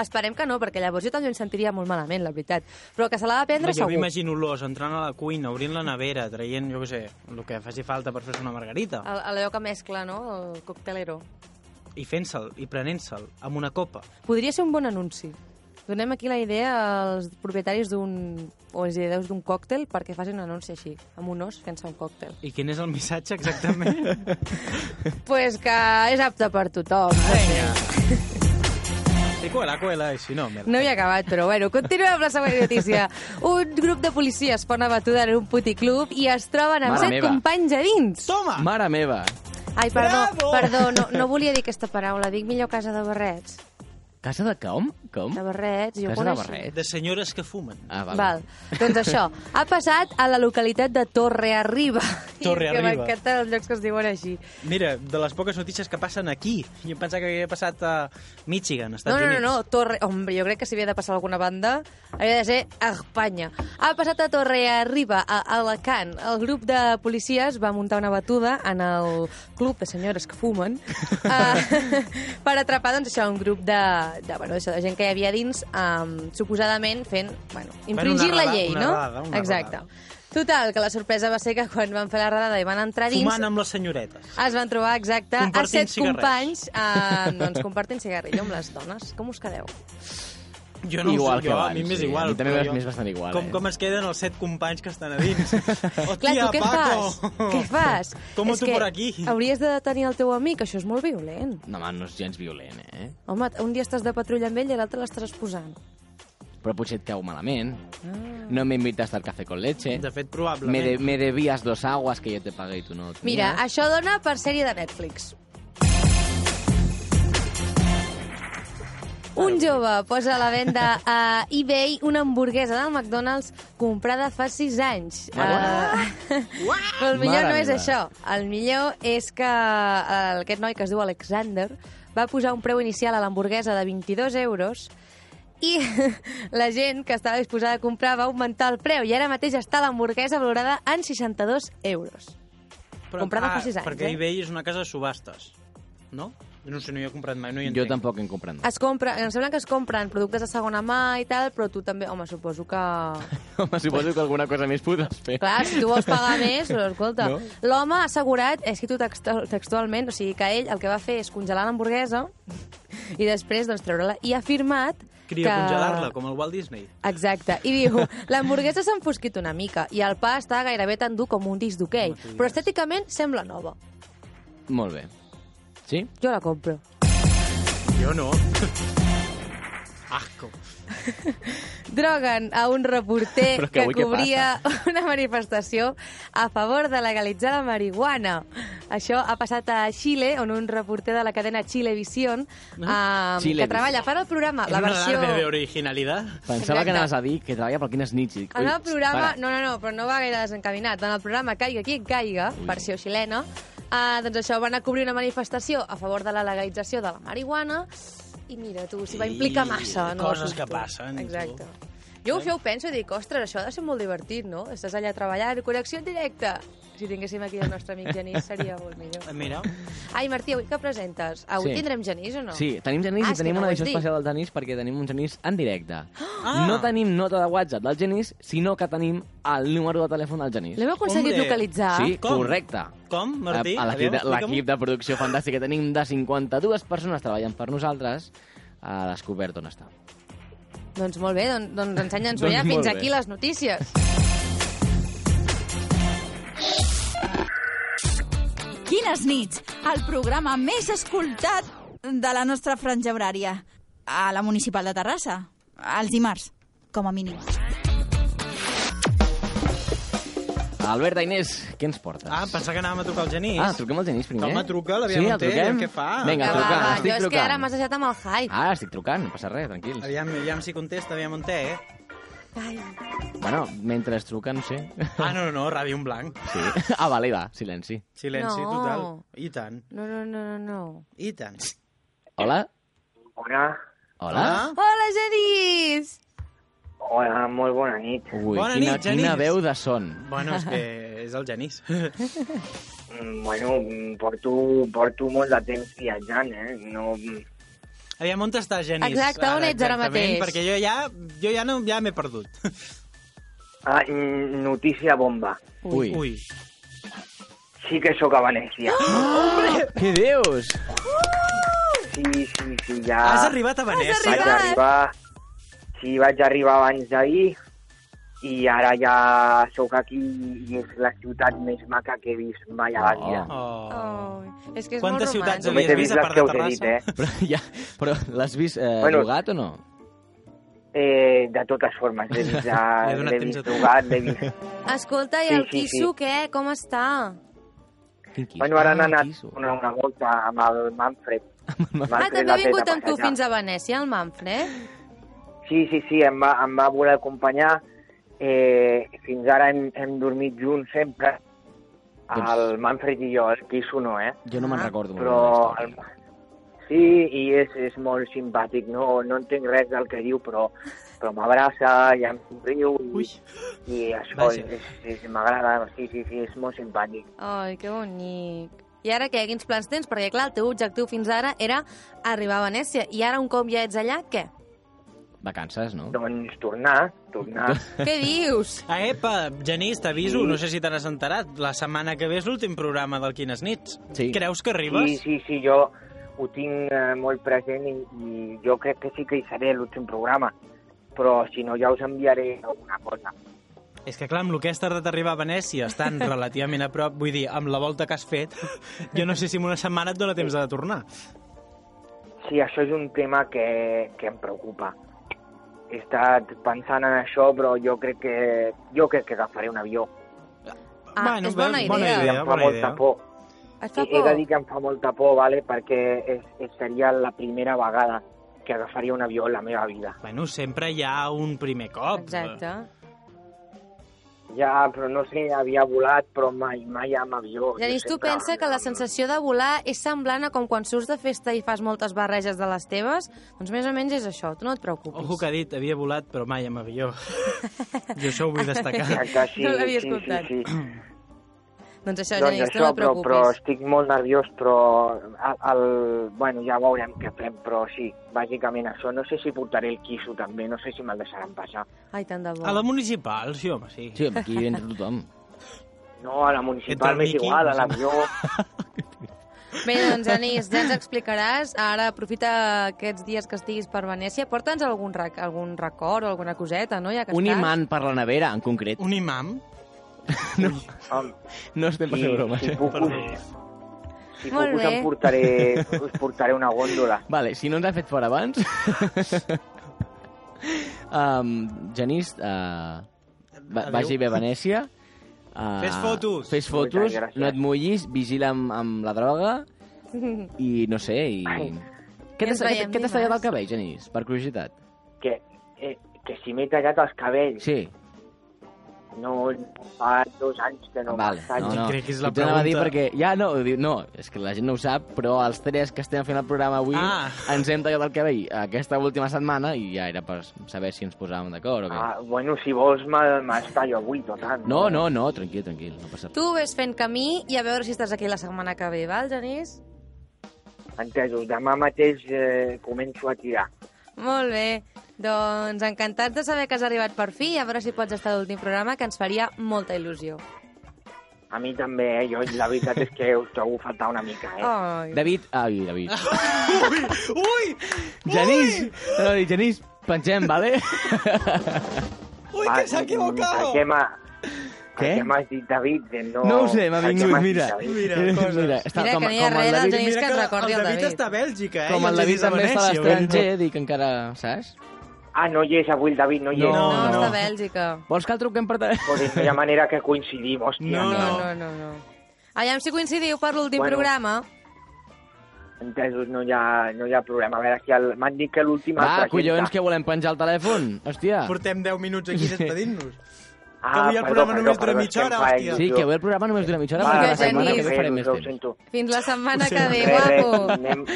Speaker 5: Esperem que no, perquè llavors jo també em sentiria molt malament, la veritat. Però que se l'ha de prendre,
Speaker 3: jo
Speaker 5: segur.
Speaker 3: m'imagino l'os entrant a la cuina, obrint la nevera, traient, jo què sé, el que faci falta per fer-se una margarita,
Speaker 5: Al- Allò que mescla, no? El coctelero.
Speaker 3: i fent-se'l, i prenent-se'l, amb una copa.
Speaker 5: Podria ser un bon anunci. Donem aquí la idea als propietaris d'un o els ideus d'un còctel perquè facin un anunci així, amb un os fent-se un còctel.
Speaker 3: I quin és el missatge exactament?
Speaker 5: pues que és apte per tothom.
Speaker 3: Vinga. Sí, cuela, cuela, i si no, me la...
Speaker 5: No hi ha acabat, però bueno, continuem amb la següent notícia. Un grup de policies fa una batuda en un puticlub i es troben amb
Speaker 4: Mare
Speaker 5: set
Speaker 4: meva.
Speaker 5: companys a dins.
Speaker 3: Toma!
Speaker 4: Mare meva!
Speaker 5: Ai, perdó,
Speaker 3: Bravo!
Speaker 5: perdó, no, no volia dir aquesta paraula, dic millor casa de barrets.
Speaker 4: Casa de com? Com?
Speaker 5: Mm? De barrets, jo ho
Speaker 4: Casa de
Speaker 5: coneixo.
Speaker 4: barret?
Speaker 3: De senyores que fumen.
Speaker 4: Ah, val.
Speaker 5: Val. Doncs això, ha passat a la localitat de Torre Arriba.
Speaker 3: Torre
Speaker 5: Que
Speaker 3: Arriba.
Speaker 5: m'encanten els llocs que es diuen així.
Speaker 3: Mira, de les poques notícies que passen aquí. Jo em pensava que havia passat a Michigan, Estats
Speaker 5: No, no, no,
Speaker 3: Units.
Speaker 5: no, Torre... Hombre, jo crec que si havia de passar a alguna banda, havia de ser a Espanya. Ha passat a Torre Arriba, a Alacant. El grup de policies va muntar una batuda en el club de senyores que fumen eh, per atrapar, doncs, això, un grup de, de, bueno, això, de gent que hi havia dins, eh, suposadament fent, bueno, infringir
Speaker 3: una
Speaker 5: la
Speaker 3: rada-
Speaker 5: llei,
Speaker 3: una
Speaker 5: no?
Speaker 3: radada, una
Speaker 5: Exacte.
Speaker 3: radada.
Speaker 5: Total, que la sorpresa va ser que quan van fer la redada i van entrar dins...
Speaker 3: Fumant amb les senyoretes.
Speaker 5: Es van trobar, exacte, a
Speaker 3: Compartint
Speaker 5: set
Speaker 3: cigarrets.
Speaker 5: companys eh, doncs, compartint cigarrillo amb les dones. Com us quedeu?
Speaker 3: Jo no
Speaker 4: igual
Speaker 3: ho sé,
Speaker 4: que
Speaker 3: jo,
Speaker 4: abans.
Speaker 3: a mi m'és
Speaker 4: sí.
Speaker 3: igual.
Speaker 4: A mi també
Speaker 3: però
Speaker 4: m'és
Speaker 3: jo-
Speaker 4: bastant igual,
Speaker 3: Com,
Speaker 4: eh?
Speaker 3: com es queden els set companys que estan a dins? Hòstia,
Speaker 5: Clar, tu què
Speaker 3: Paco!
Speaker 5: fas? Què fas?
Speaker 3: Com
Speaker 5: És
Speaker 3: tu
Speaker 5: que
Speaker 3: por aquí?
Speaker 5: Hauries de tenir el teu amic, això és molt violent.
Speaker 4: No, home, no és gens violent, eh?
Speaker 5: Home, un dia estàs de patrulla amb ell i l'altre l'estàs exposant.
Speaker 4: Però potser et cau malament.
Speaker 5: Ah.
Speaker 4: No m'invites al cafè con leche.
Speaker 3: Eh, De fet,
Speaker 4: Me,
Speaker 3: probablement.
Speaker 4: de, me debías dos aguas que yo te pagué y tú no.
Speaker 5: Mira,
Speaker 4: tenías.
Speaker 5: això dona per sèrie de Netflix. Un jove posa a la venda a eBay una hamburguesa del McDonald's comprada fa 6 anys.
Speaker 4: Mare
Speaker 5: Eh, Però el millor
Speaker 4: Mare
Speaker 5: no és
Speaker 4: meva.
Speaker 5: això. El millor és que eh, aquest noi que es diu Alexander va posar un preu inicial a l'hamburguesa de 22 euros i la gent que estava disposada a comprar va augmentar el preu i ara mateix està l'hamburguesa valorada en 62 euros. comprada fa sis anys,
Speaker 3: Perquè
Speaker 5: eh?
Speaker 3: eBay és una casa de subhastes, no? No sé, no hi he comprat mai, no hi entenc.
Speaker 4: Yo tampoco he comprado.
Speaker 5: Es compra, em sembla que es compren productes de segona mà i tal, però tu també, home, suposo que... Ah.
Speaker 4: Home, suposo que alguna cosa més podràs fer.
Speaker 5: Clar, si tu vols pagar més, però escolta,
Speaker 4: No?
Speaker 5: no? l'home ha assegurat, he escrit textualment, o sigui que ell el que va fer és congelar l'hamburguesa i després doncs, treure-la. I ha afirmat
Speaker 3: Cria
Speaker 5: que...
Speaker 3: congelar-la, com el Walt Disney.
Speaker 5: Exacte, i diu, l'hamburguesa s'ha enfosquit una mica i el pa està gairebé tan dur com un disc d'hoquei,
Speaker 3: No t'ho diràs.
Speaker 5: però estèticament sembla nova.
Speaker 4: Molt bé. Sí?
Speaker 5: Jo la compro.
Speaker 3: Jo no. Asco.
Speaker 5: Droguen a un reporter
Speaker 4: Però
Speaker 5: que,
Speaker 4: que avui què
Speaker 5: cobria una manifestació a favor de legalitzar la marihuana. Això ha passat a Xile, on un reporter de la cadena Chilevisión, eh,
Speaker 4: Chilevisión.
Speaker 5: que treballa per al programa, la
Speaker 3: És
Speaker 5: versió...
Speaker 3: un alarde d'originalitat.
Speaker 4: Pensava
Speaker 5: Exacte.
Speaker 4: que anaves a dir que treballa pel Quines Nits. i dic,
Speaker 5: En
Speaker 4: ui,
Speaker 5: el programa...
Speaker 4: para.
Speaker 5: No, no, no, però no va gaire desencaminat. En el programa Caiga qui caiga, versió xilena, eh, doncs això, van a cobrir una manifestació a favor de la legalització de la marihuana i mira, tu, s'hi va implicar
Speaker 3: I
Speaker 5: massa. No
Speaker 3: coses
Speaker 5: Surto.
Speaker 3: que passen, tu.
Speaker 5: Exacte. Jo
Speaker 4: Eh?
Speaker 5: això ho penso i dic, ostres, això ha de ser molt divertit, no? Estàs allà treballant, connexió en directe. Si tinguéssim aquí el nostre amic Genís seria molt millor.
Speaker 3: Ah, Mira,
Speaker 5: Ai, Martí, avui què presentes? Avui
Speaker 4: Sí.
Speaker 5: tindrem Genís o no?
Speaker 4: Sí, tenim genís
Speaker 5: Ah,
Speaker 4: ah,
Speaker 5: és
Speaker 4: i
Speaker 5: que
Speaker 4: tenim
Speaker 5: no
Speaker 4: una
Speaker 5: ho has
Speaker 4: edició
Speaker 5: dit.
Speaker 4: especial del genís perquè tenim un genís en directe. Ah. No tenim nota de WhatsApp del genís, sinó que tenim el número de telèfon del genís.
Speaker 5: L'hem aconseguit
Speaker 3: Hombre.
Speaker 5: localitzar?
Speaker 4: Sí,
Speaker 3: Ah, Com?
Speaker 4: correcte.
Speaker 3: com, Martí?
Speaker 4: A- a l'equip de,
Speaker 3: Aviam, explica'm.
Speaker 4: l'equip de producció fantàstica tenim de 52 persones treballant per nosaltres a descobert on està.
Speaker 5: Doncs molt bé, doncs, doncs ensenya'ns-ho
Speaker 4: Doncs
Speaker 5: ja.
Speaker 4: molt
Speaker 5: Fins
Speaker 4: bé.
Speaker 5: aquí les notícies.
Speaker 6: Quines nits, el programa més escoltat de la nostra franja horària. A la Municipal de Terrassa, els dimarts, com a mínim.
Speaker 4: Alberta Inés, què ens portes?
Speaker 3: Ah, pensava que anàvem a trucar al Genís.
Speaker 4: Ah, truquem al genís primer.
Speaker 3: Home, truca, l'Aviam
Speaker 4: sí, el
Speaker 3: Montell,
Speaker 4: truquem?
Speaker 3: què fa? Ah,
Speaker 4: Vinga,
Speaker 3: Va,
Speaker 5: va,
Speaker 4: trucant,
Speaker 5: va,
Speaker 4: estic Ah.
Speaker 5: jo és que
Speaker 4: trucant.
Speaker 5: ara m'has deixat amb el hype.
Speaker 4: Ara estic trucant, no passa res, tranquils.
Speaker 3: Aviam, aviam si contesta, aviam on té, eh?
Speaker 5: Ai,
Speaker 4: Bueno, mentre es truca, no sé.
Speaker 3: Ah, no, no, no, ràdio en blanc.
Speaker 4: Sí. Ah, vale, va, silenci.
Speaker 3: Silenci
Speaker 5: No.
Speaker 3: total. I tant,
Speaker 5: no, no, no, no, no.
Speaker 3: i tant.
Speaker 4: Hola?
Speaker 7: Hola,
Speaker 4: Hola?
Speaker 3: Ah.
Speaker 5: Hola, Genís!
Speaker 7: hola, molt bona nit.
Speaker 4: Ui,
Speaker 3: Bona
Speaker 4: quina,
Speaker 3: nit,
Speaker 4: quina
Speaker 3: Genís.
Speaker 4: veu de son.
Speaker 3: Bueno, és que és el Genís.
Speaker 7: Mm, Bueno, mm, porto, porto molt de temps viatjant, eh? No, mm,
Speaker 3: Aviam, on està Genís?
Speaker 5: Exacte, on ets ara
Speaker 3: exactament,
Speaker 5: mateix?
Speaker 3: Perquè jo ja, jo ja, no, ja m'he perdut.
Speaker 7: ah, mm, notícia bomba.
Speaker 4: Ui.
Speaker 3: Ui.
Speaker 7: Sí que sóc a Venècia.
Speaker 4: Què dius?
Speaker 7: Sí, sí, sí, ja...
Speaker 3: Ah. Has arribat a Venècia.
Speaker 7: Vaig
Speaker 5: arribat.
Speaker 7: arribar... Sí, vaig arribar abans d'ahir i ara ja sóc aquí i és la ciutat més maca que he vist mai a la vida.
Speaker 4: Oh.
Speaker 3: Oh.
Speaker 5: Oh. És que és
Speaker 3: Quantes
Speaker 5: molt
Speaker 3: ciutats
Speaker 5: romàntic.
Speaker 7: Només he
Speaker 3: Havies vist a
Speaker 7: vist les
Speaker 3: part
Speaker 7: que
Speaker 3: de
Speaker 7: us he dit, eh?
Speaker 4: Però, ja, però l'has vist eh,
Speaker 7: Bueno.
Speaker 4: drogat o no?
Speaker 7: eh? De totes formes, l'he vist,
Speaker 3: Li he donat temps
Speaker 7: l'he
Speaker 3: a
Speaker 7: vist
Speaker 3: tot.
Speaker 7: jugat, l'he vist...
Speaker 5: Escolta, i
Speaker 7: Sí,
Speaker 5: el
Speaker 7: sí, sí.
Speaker 5: Quisso, què? Com està?
Speaker 4: Quin quis?
Speaker 7: Bueno, ara
Speaker 4: Ah,
Speaker 7: han anat
Speaker 4: quiso.
Speaker 7: una, una volta amb el Manfred.
Speaker 5: Ah,
Speaker 7: Manfred
Speaker 5: també
Speaker 7: l'ha
Speaker 5: ha
Speaker 7: fet
Speaker 5: vingut amb tu
Speaker 7: passejar.
Speaker 5: fins a Venècia, el Manfred?
Speaker 7: Sí, sí, sí, em va, em va voler acompanyar. Eh, fins ara hem, hem dormit junts sempre.
Speaker 4: Doncs-
Speaker 7: El Manfred i jo, el Quiso no, eh?
Speaker 4: Jo no me'n
Speaker 5: Ah,
Speaker 4: recordo. molt
Speaker 7: Però...
Speaker 4: bé
Speaker 7: El...
Speaker 4: de la història.
Speaker 7: Sí, i és, és molt simpàtic. No, no entenc res del que diu, però, però m'abraça, ja em somriu.
Speaker 3: Ui.
Speaker 7: I, i això
Speaker 3: Vaja.
Speaker 7: és, és, és- m'agrada. Sí, sí, sí, és molt simpàtic.
Speaker 5: Ai, que bonic. I ara què? Quins plans tens? Perquè, clar, el teu objectiu fins ara era arribar a Venècia. I ara, un cop ja ets allà, què?
Speaker 4: Vacances, no?
Speaker 7: Doncs tornar, tornar.
Speaker 5: Què dius?
Speaker 3: Ah, epa, Genís, t'aviso, no sé si te n'has enterat, la setmana que ve és l'últim programa del Quines Nits.
Speaker 4: Sí.
Speaker 3: Creus que
Speaker 7: Sí,
Speaker 3: arribes?
Speaker 7: sí, sí, jo... ho tinc eh, molt present i, i jo crec que sí que hi seré a l'últim programa, però si no ja us enviaré alguna cosa.
Speaker 3: És que, clar, amb el que has tardat a arribar a Venècia, estan relativament a prop, vull dir, amb la volta que has fet, jo no sé si en una setmana et dóna temps de tornar.
Speaker 7: Sí, això és un tema que, que em preocupa. He estat pensant en això, però jo crec que, jo crec que agafaré un avió.
Speaker 5: Ah, és bona
Speaker 3: bé,
Speaker 5: idea.
Speaker 7: I em fa molta por.
Speaker 5: Et
Speaker 7: He,
Speaker 5: fa
Speaker 7: he de
Speaker 5: por?
Speaker 7: dir que em fa molta por, vale? perquè és, és, seria la primera vegada que agafaria un avió en la meva vida.
Speaker 3: Bueno, sempre hi ha un primer cop.
Speaker 5: Exacte.
Speaker 7: Ja, però no sé, havia volat, però mai, mai amb avió.
Speaker 5: És a dir,
Speaker 7: Jo
Speaker 5: tu
Speaker 7: sempre-
Speaker 5: pensa que la sensació de volar és semblant a com quan surts de festa i fas moltes barreges de les teves? Doncs més o menys és això, tu no et preocupis.
Speaker 3: Ojo que ha dit, havia volat, però mai amb avió. Jo això ho vull destacar.
Speaker 7: Exacte, sí,
Speaker 5: No l'havia
Speaker 7: sí,
Speaker 5: escoltat.
Speaker 7: Sí, sí.
Speaker 5: Doncs això, doncs Genís, tu
Speaker 7: això,
Speaker 5: no et
Speaker 7: però,
Speaker 5: preocupis.
Speaker 7: però estic molt nerviós, però el, el, bueno, ja veurem què fem, però sí, bàsicament això. No sé si portaré el quiso també, no sé si me'l deixaran passar.
Speaker 5: Ai, tant de bo.
Speaker 3: A la municipal, sí, home, sí.
Speaker 4: Sí, aquí hi entra tothom.
Speaker 7: No, a
Speaker 3: Entre
Speaker 7: la
Speaker 3: el
Speaker 7: municipal m'és
Speaker 3: Miqui,
Speaker 7: igual, a
Speaker 3: no sé.
Speaker 7: l'avió...
Speaker 5: Bé, doncs, Genís, ja ens explicaràs. Ara aprofita aquests dies que estiguis per Venècia. Porta'ns algun, rac, algun record o alguna coseta, no? Ja que
Speaker 4: Un
Speaker 5: estàs.
Speaker 4: imant per la nevera, en concret.
Speaker 3: Un imam?
Speaker 7: Home,
Speaker 4: No estem per fer bromes.
Speaker 7: si
Speaker 4: eh?
Speaker 7: puc,
Speaker 3: Perdó.
Speaker 7: us, si
Speaker 5: Molt
Speaker 7: puc us,
Speaker 5: bé.
Speaker 7: en portaré, us portaré una gòndola.
Speaker 4: Vale, si no ens ha fet fora abans... um, Genís, uh, va,
Speaker 3: Adéu.
Speaker 4: vagi bé a Venècia. Uh,
Speaker 3: Fes fotos.
Speaker 4: Fes fotos,
Speaker 7: Moltes gràcies.
Speaker 4: no et mullis, vigila amb, amb la droga i no sé, i...
Speaker 7: Ai.
Speaker 4: Què
Speaker 5: I ens
Speaker 4: t'has què
Speaker 5: veiem
Speaker 4: t'has
Speaker 5: dimarts.
Speaker 4: tallat al cabell, Genís? Per curiositat.
Speaker 7: Que, eh, que si m'he tallat els cabells,
Speaker 4: Sí,
Speaker 7: no, fa dos anys que no
Speaker 4: vale.
Speaker 7: me'ls
Speaker 4: No,
Speaker 7: tallo.
Speaker 4: no.
Speaker 3: Crec que és la
Speaker 4: Jo t'anava a dir
Speaker 3: pregunta.
Speaker 4: perquè... Ja, no, diu- no, és que la gent no ho sap, però els tres que estem fent el programa avui
Speaker 3: Ah.
Speaker 4: ens hem tallat el cabell aquesta última setmana i ja era per saber si ens posàvem d'acord o què.
Speaker 7: Ah, bueno, si vols me'l- me'ls tallo avui, total.
Speaker 4: No, no, no, tranquil, tranquil, no passa res.
Speaker 5: Tu ves fent camí i a veure si estàs aquí la setmana que ve, val, Genís?
Speaker 7: Entesos, demà mateix eh, començo a tirar.
Speaker 5: Molt bé. Doncs encantats de saber que has arribat per fi i a veure si pots estar a l'últim programa, que ens faria molta il·lusió.
Speaker 7: A mi també, eh? Jo, la veritat és que us trobo a faltar una mica, eh?
Speaker 5: Ai.
Speaker 4: David, ai, David.
Speaker 3: Ui!
Speaker 4: Genís, no, dic, Genís, pengem, vale?
Speaker 3: Ui,
Speaker 7: Va,
Speaker 3: que s'ha equivocado!
Speaker 7: Per què m'ha...
Speaker 4: Què?
Speaker 7: Per què m'has dit David? Que No,
Speaker 4: No ho sé, m'ha
Speaker 7: per què
Speaker 4: vingut,
Speaker 7: m'has dit
Speaker 4: mira.
Speaker 7: David?
Speaker 3: Mira, coses.
Speaker 4: mira està,
Speaker 5: Mira,
Speaker 4: com,
Speaker 5: que n'hi ha
Speaker 4: com,
Speaker 5: res
Speaker 4: el
Speaker 5: del
Speaker 4: David,
Speaker 5: Genís. És que ens
Speaker 3: la-
Speaker 5: recordi el
Speaker 3: el David
Speaker 5: David.
Speaker 3: està a Bèlgica, eh?
Speaker 4: com
Speaker 3: I
Speaker 4: el
Speaker 3: ens
Speaker 4: David
Speaker 3: és de
Speaker 4: també està a
Speaker 3: Venècia, ben
Speaker 4: l'estranger, dic, encara, saps?
Speaker 7: Ah, no hi és avui el David, no hi és.
Speaker 4: No,
Speaker 5: No,
Speaker 4: no.
Speaker 5: està a Bèlgica.
Speaker 4: Vols que el truquem per... tele-
Speaker 7: Joder, no hi ha manera que coincidim, hòstia.
Speaker 3: No,
Speaker 5: No, no, no, no. Aviam si coincidiu per l'últim
Speaker 7: Bueno.
Speaker 5: programa.
Speaker 7: Entesos, no hi ha, no hi ha problema. A veure, si el... m'han dit que l'últim... el
Speaker 4: Va,
Speaker 7: presenta.
Speaker 4: collons, que volem penjar el telèfon. Hòstia.
Speaker 3: Portem 10 minuts aquí despedint-nos.
Speaker 7: Ah,
Speaker 3: que avui el programa només dura
Speaker 7: perdó,
Speaker 3: mitja
Speaker 7: és que em
Speaker 3: hora,
Speaker 7: fa
Speaker 3: hòstia.
Speaker 4: Sí,
Speaker 7: il·lusió.
Speaker 4: que avui el programa només dura mitja hora,
Speaker 7: Va,
Speaker 4: perquè la
Speaker 5: Genís.
Speaker 4: setmana que ve farem més
Speaker 7: Ho
Speaker 4: temps.
Speaker 7: sento.
Speaker 5: Fins la setmana
Speaker 3: Ho
Speaker 5: que ve,
Speaker 7: Res, res,
Speaker 5: guapo.
Speaker 7: anem...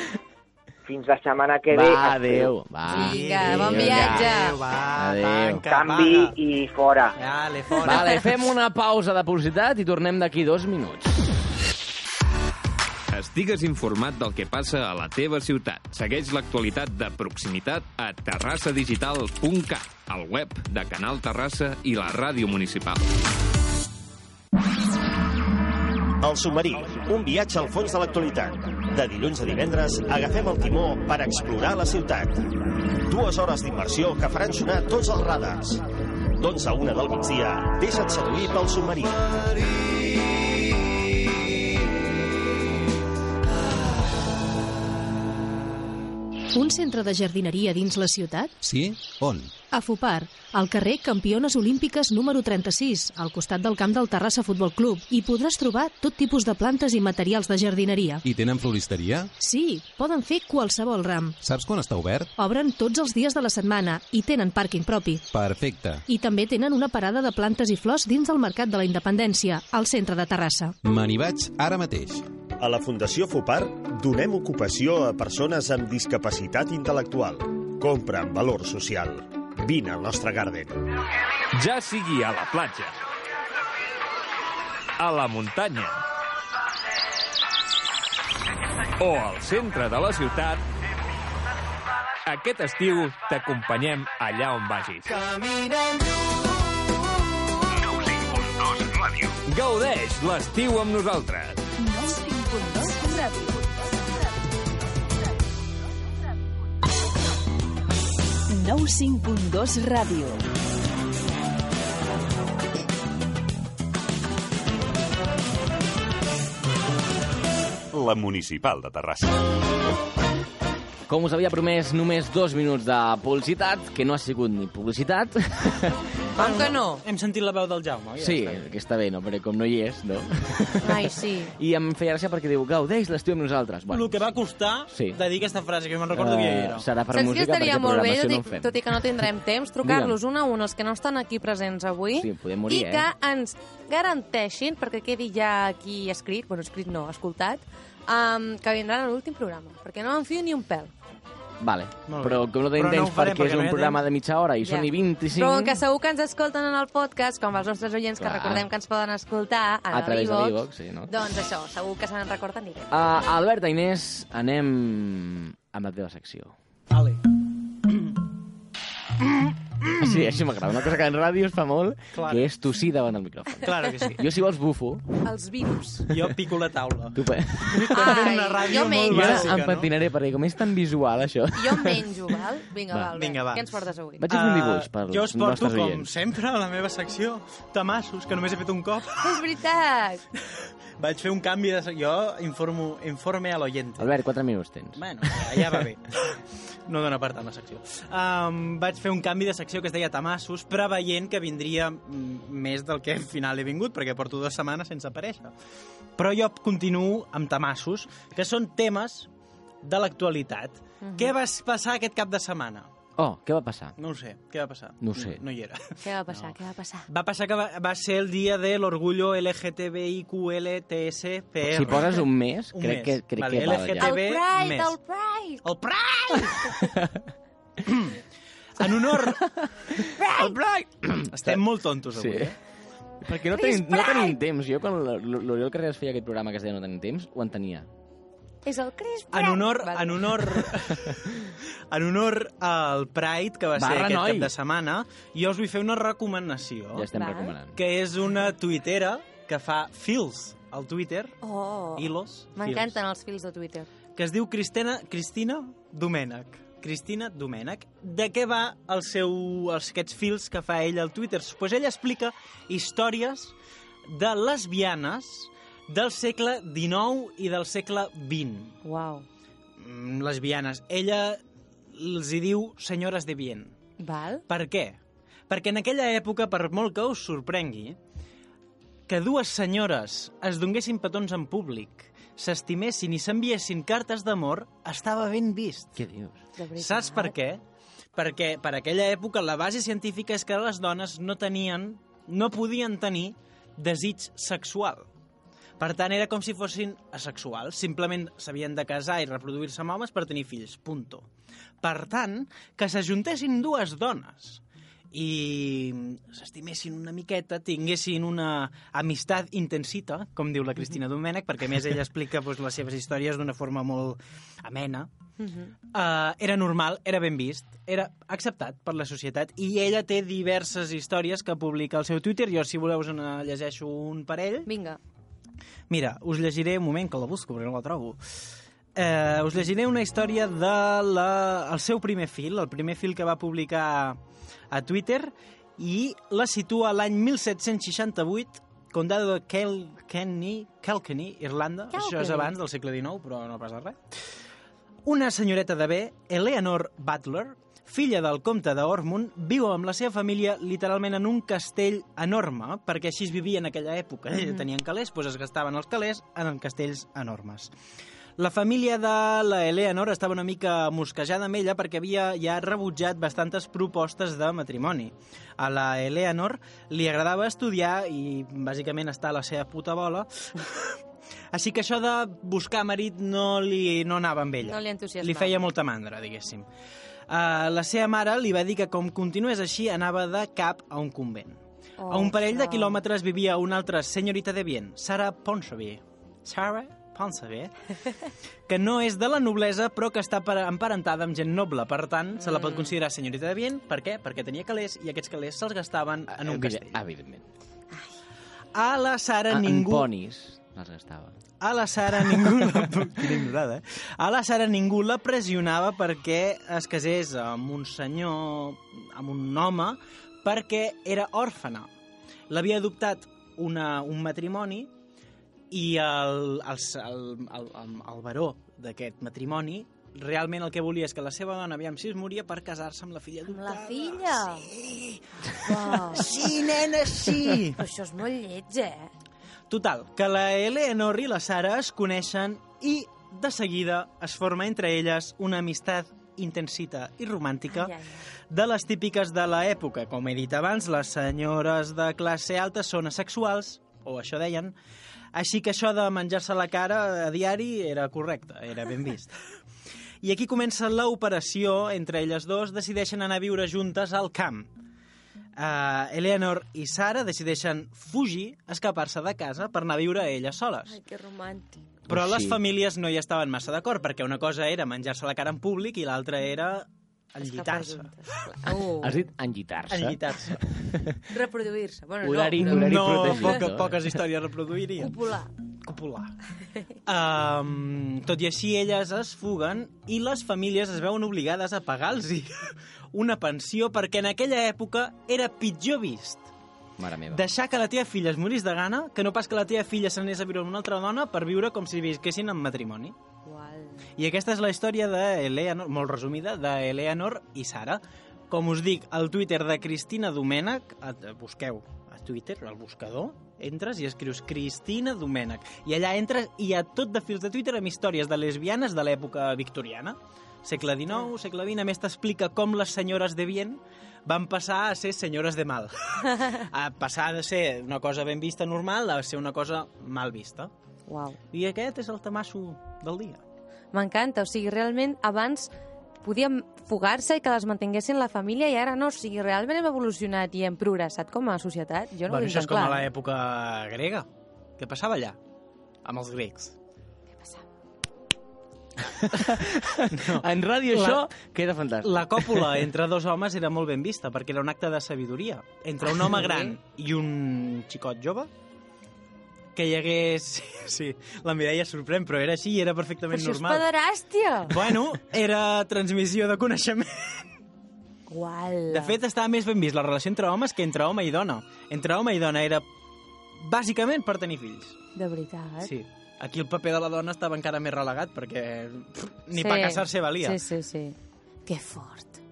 Speaker 7: Fins la setmana que ve.
Speaker 4: Va,
Speaker 7: Espero.
Speaker 4: adéu. Va.
Speaker 5: Vinga, bon
Speaker 4: Vinga.
Speaker 5: viatge.
Speaker 3: Adéu, va,
Speaker 4: Adéu.
Speaker 3: tanca,
Speaker 7: Canvi
Speaker 3: apaga.
Speaker 7: i fora.
Speaker 3: Dale, fora.
Speaker 4: Vale, fem una pausa de publicitat i tornem d'aquí dos minuts.
Speaker 8: Estigues informat del que passa a la teva ciutat. Segueix l'actualitat de proximitat a terrassadigital.cat, el web de Canal Terrassa i la ràdio municipal.
Speaker 9: El submarí, un viatge al fons de l'actualitat. De dilluns a divendres agafem el timó per explorar la ciutat. Dues hores d'immersió que faran sonar tots els radars. D'11 a 1 del migdia, deixa't seduir pel submarí.
Speaker 10: Un centre de jardineria dins la ciutat?
Speaker 11: Sí? On?
Speaker 10: A Fupar, al carrer Campiones Olímpiques número 36, al costat del camp del Terrassa Futbol Club, hi podràs trobar tot tipus de plantes i materials de jardineria.
Speaker 11: I tenen floristeria?
Speaker 10: Sí, poden fer qualsevol ram.
Speaker 11: Saps quan està obert?
Speaker 10: Obren tots els dies de la setmana i tenen pàrquing propi.
Speaker 11: Perfecte.
Speaker 10: I també tenen una parada de plantes i flors dins el Mercat de la Independència, al centre de Terrassa.
Speaker 11: Me n'hi vaig ara mateix.
Speaker 9: A la Fundació FUPAR donem ocupació a persones amb discapacitat intel·lectual. Compra amb valor social. Vine al nostre Garden.
Speaker 8: Ja sigui a la platja, a la muntanya o al centre de la ciutat, aquest estiu t'acompanyem allà on vagis. Gaudeix l'estiu amb nosaltres.
Speaker 6: 95.2 Ràdio.
Speaker 2: El 95.2 Ràdio.
Speaker 1: La Municipal de Terrassa.
Speaker 4: Com us havia promès, només dos minuts de publicitat, que no ha sigut ni publicitat.
Speaker 5: Com que no?
Speaker 3: Hem sentit la veu del Jaume.
Speaker 4: Sí, que està bé, no? Perquè com no hi és, no?
Speaker 5: Ai, sí.
Speaker 4: I em feia gràcia perquè diu, gaudeix l'estiu amb nosaltres.
Speaker 3: Bueno, el que va costar
Speaker 4: Sí.
Speaker 3: sí. de dir aquesta frase, que me'n recordo uh, que hi era.
Speaker 4: serà per
Speaker 5: Saps qui
Speaker 4: música,
Speaker 5: estaria
Speaker 4: perquè
Speaker 5: molt bé,
Speaker 4: programació
Speaker 5: tot
Speaker 4: no
Speaker 5: i,
Speaker 4: en fem.
Speaker 5: tot i que no tindrem temps, trucar-los un a un els que no estan aquí presents avui
Speaker 4: Sí, podem morir,
Speaker 5: i
Speaker 4: eh?
Speaker 5: que ens garanteixin, perquè quedi ja aquí escrit, bueno, escrit no, escoltat, um, que vindran a l'últim programa, perquè no em fio ni un pel.
Speaker 4: Vale,
Speaker 3: Molt bé.
Speaker 4: però com no tenim
Speaker 3: Però no ho
Speaker 4: temps
Speaker 3: farem,
Speaker 4: perquè
Speaker 3: perquè
Speaker 4: és
Speaker 3: no
Speaker 4: un
Speaker 3: hi ha
Speaker 4: programa
Speaker 3: temps.
Speaker 4: de mitja hora i són i 25...
Speaker 5: Però com que segur que ens escolten en el podcast, com els nostres oients que
Speaker 4: Clar.
Speaker 5: recordem que ens poden
Speaker 4: A
Speaker 5: escoltar a
Speaker 4: través de
Speaker 5: l'Ivox,
Speaker 4: l'Ivox, sí, no?
Speaker 5: doncs això, segur que se n'en recorden i que...
Speaker 4: Uh, Albert Inés, anem amb la teva secció. Ale. Sí, així m'agrada. Una cosa que en ràdio es fa molt,
Speaker 3: Clar.
Speaker 4: que és tossir davant del micròfon.
Speaker 3: Claro que sí.
Speaker 4: Jo, si vols, bufo.
Speaker 5: Els virus.
Speaker 3: Jo pico la taula.
Speaker 4: Tu pe...
Speaker 3: Ai, una ràdio
Speaker 5: jo
Speaker 3: molt
Speaker 4: Jo ara
Speaker 3: bàsica,
Speaker 4: em pentinaré, perquè com és tan visual, això...
Speaker 5: Jo menjo, val? Vinga,
Speaker 4: Va.
Speaker 5: va, Albert,
Speaker 3: Vinga, va.
Speaker 5: què ens portes avui?
Speaker 4: Vaig a fer un dibuix per
Speaker 3: Ah, jo us
Speaker 4: als
Speaker 3: porto,
Speaker 4: nostres
Speaker 3: com
Speaker 4: oients.
Speaker 3: sempre, a la meva secció, tamassos, que només he fet un cop.
Speaker 5: És veritat!
Speaker 3: Vaig fer un canvi de... sec- Jo informo, informe a l'oyente.
Speaker 4: Albert, 4 minuts tens.
Speaker 3: Bueno, ja va bé. No dóna per tant la secció. Um, vaig fer un canvi de secció que es deia Tamassos, preveient que vindria mm, més del que al final he vingut, perquè porto dues setmanes sense aparèixer. Però jo continuo amb Tamassos, que són temes de l'actualitat. Què va passar aquest cap de setmana?
Speaker 4: Oh, què va passar?
Speaker 3: No ho sé, què va passar?
Speaker 4: No ho sé.
Speaker 3: No, no hi era.
Speaker 5: Què va passar, què va passar?
Speaker 3: Va passar que va, va ser el dia de l'orgullo LGTBIQLTSPR.
Speaker 4: Si poses un mes,
Speaker 3: Eh, Un
Speaker 4: crec
Speaker 3: mes.
Speaker 4: que, crec
Speaker 3: Vale,
Speaker 4: que val
Speaker 3: LGTB+.
Speaker 4: ja.
Speaker 3: El Bé, Pride, més. el
Speaker 5: Pride!
Speaker 3: El Pride! en honor...
Speaker 4: El Pride!
Speaker 3: Estem molt tontos
Speaker 4: Sí.
Speaker 3: avui, eh?
Speaker 4: Perquè no tenim, no tenim temps. Jo, quan l'O- l'Oriol Carreras feia aquest programa que es deia No tenim temps, ho entenia.
Speaker 5: És el Chris Pratt.
Speaker 3: En honor,
Speaker 5: Vale.
Speaker 3: en honor, en honor al Pride, que va ser
Speaker 4: Barra,
Speaker 3: aquest
Speaker 4: noi.
Speaker 3: cap de setmana, jo us vull fer una recomanació,
Speaker 4: Ja estem
Speaker 5: Val.
Speaker 4: recomanant.
Speaker 3: que és una tuitera que fa fils al Twitter,
Speaker 5: Oh,
Speaker 3: hilos, fils,
Speaker 5: m'encanten els fils de Twitter.
Speaker 3: que es diu Cristina, Cristina Domènech. Cristina Domènech. De què va el seu, els, aquests fils que fa ella al Twitter? Doncs Pues ella explica històries de lesbianes del segle XIX i del segle XX.
Speaker 5: Uau.
Speaker 3: mm, lesbianes. Ella els hi diu senyores de bien.
Speaker 5: Val?
Speaker 3: Per què? Perquè en aquella època, per molt que us sorprengui, que dues senyores es donguessin petons en públic, s'estimessin i s'enviessin cartes d'amor, estava ben vist.
Speaker 4: Què dius?
Speaker 5: De veritat.
Speaker 3: Saps per què? Perquè per aquella època la base científica és que les dones no tenien, no podien tenir desig sexual. Per tant, era com si fossin asexuals. Simplement s'havien de casar i reproduir-se amb homes per tenir fills. Punto. Per tant, que s'ajuntessin dues dones i s'estimessin una miqueta, tinguessin una amistat intensita, com diu la Cristina Domènech, perquè a més ella explica doncs, les seves històries d'una forma molt amena, Uh, era normal, era ben vist, era acceptat per la societat i ella té diverses històries que publica al seu Twitter. Jo, si voleu, us en eh, llegeixo un parell.
Speaker 5: Vinga.
Speaker 3: Mira, us llegiré un moment que la busco perquè no la trobo. Eh, us llegiré una història de la, el seu primer fil, el primer fil que va publicar a Twitter i la situa a l'any 1768 Condado de Kilkenny, Kilkenny, Irlanda. Això és
Speaker 5: Kilkenny.
Speaker 3: abans del segle XIX, però no passa res. Una senyoreta de bé, Eleanor Butler, filla del comte d'Ormond, viu amb la seva família literalment en un castell enorme, perquè així es vivia en aquella època. Mm -hmm. Tenien calés, doncs es gastaven els calés en castells enormes. La família de la Eleanor estava una mica mosquejada amb ella perquè havia ja rebutjat bastantes propostes de matrimoni. A la Eleanor li agradava estudiar i bàsicament estar a la seva puta bola, així que això de buscar marit no, li, no anava amb ella.
Speaker 5: No li entusiasmava.
Speaker 3: Li feia molta mandra, diguéssim. Uh, la seva mare li va dir que com continués així anava de cap a un convent. Oh, a un parell de
Speaker 5: ostres.
Speaker 3: quilòmetres vivia una altra senyorita de Bien, Sara Ponsonby. Sara Ponsonby, que no és de la noblesa, però que està per- emparentada amb gent noble. Per tant, se la pot considerar senyorita de Bien. Per què? Perquè tenia calés i aquests calés
Speaker 4: Ah, eh,
Speaker 3: se'ls gastaven en un
Speaker 4: Evident-
Speaker 3: castell.
Speaker 4: Evidentment.
Speaker 3: A la Sara
Speaker 4: ah, En
Speaker 3: ningú...
Speaker 4: ponis. les gastava.
Speaker 3: A la Sara ningú la... Quina ignorada, eh? A la Sara ningú la pressionava perquè es casés amb un senyor, amb un home, perquè era òrfana. L'havia adoptat una, un matrimoni i el, el, el, el, el, el baró d'aquest matrimoni realment el que volia és que la seva dona, aviam si es moria, per casar-se amb la filla adoptada.
Speaker 5: La filla?
Speaker 3: Sí.
Speaker 5: Uau.
Speaker 3: Sí, nena, sí.
Speaker 5: Però això és molt lleig, eh?
Speaker 3: Total, que la Eleanor i la Sara es coneixen i de seguida es forma entre elles una amistat intensita i romàntica ai, ai. de les típiques de l'època. Com he dit abans, les senyores de classe alta són asexuals, o això deien, així que això de menjar-se la cara a diari era correcte, era ben vist. I aquí comença l'operació, entre elles dos decideixen anar a viure juntes al camp. Uh, Eleanor i Sara decideixen fugir, escapar-se de casa per anar a viure elles soles.
Speaker 5: Ai, que romàntic.
Speaker 3: Però
Speaker 4: Oh,
Speaker 3: les
Speaker 4: sí.
Speaker 3: famílies no hi estaven massa d'acord, perquè una cosa era menjar-se la cara en públic i l'altra era enllitar-se.
Speaker 5: Uh,
Speaker 4: Has dit enllitar-se?
Speaker 3: Enllitar-se.
Speaker 5: Reproduir-se. Bueno,
Speaker 4: Horari-
Speaker 5: no,
Speaker 4: horari
Speaker 3: No,
Speaker 4: protegit,
Speaker 3: poca,
Speaker 4: eh?
Speaker 3: poques històries reproduiria.
Speaker 5: Copular.
Speaker 3: Copular. Um, tot i així, elles es fuguen i les famílies es veuen obligades a pagar-los una pensió perquè en aquella època era pitjor vist
Speaker 4: Mare meva.
Speaker 3: deixar que la teva filla es morís de gana que no pas que la teva filla se n'anés a viure amb una altra dona per viure com si visquessin en matrimoni.
Speaker 5: Uau.
Speaker 3: I aquesta és la història d'Eleanor, molt resumida, d'Eleanor i Sara. Com us dic, al Twitter de Cristina Domènech, et- eh, busqueu a Twitter, al buscador, entres i escrius Cristina Domènech. I allà entres i hi ha tot de fils de Twitter amb històries de lesbianes de l'època victoriana. Segle XIX, segle XX, a més t'explica com les senyores de bien van passar a ser senyores de mal. A passar de ser una cosa ben vista normal a ser una cosa mal vista.
Speaker 5: Uau.
Speaker 3: I aquest és el temasso del dia.
Speaker 5: M'encanta, o sigui, realment abans podíem fugar-se i que les mantinguessin la família i ara no, o sigui, realment hem evolucionat i hem progressat com a societat. Jo no
Speaker 3: bueno,
Speaker 5: ho
Speaker 3: això
Speaker 5: tinc
Speaker 3: és
Speaker 5: tan
Speaker 3: com
Speaker 5: clar.
Speaker 3: a l'època grega. Què passava allà? Amb els grecs.
Speaker 4: No. En ràdio
Speaker 3: La-
Speaker 4: la... això queda fantàstic.
Speaker 3: La còpula entre dos homes era molt ben vista, perquè era un acte de sabidoria. Entre un home gran i un xicot jove, que hi hagués... Sí, la Mireia es sorprèn, però era així i era
Speaker 5: Però
Speaker 3: perfectament
Speaker 5: això és
Speaker 3: normal.
Speaker 5: pederàstia!
Speaker 3: Bueno, era transmissió de coneixement.
Speaker 5: Uala.
Speaker 3: De fet, estava més ben vist la relació entre homes que entre home i dona. Entre home i dona era bàsicament per tenir fills.
Speaker 5: De veritat.
Speaker 3: Sí. Aquí el paper de la dona estava encara més relegat perquè pff, ni sí. per casar-se valia.
Speaker 5: Sí, sí, sí. Que fort.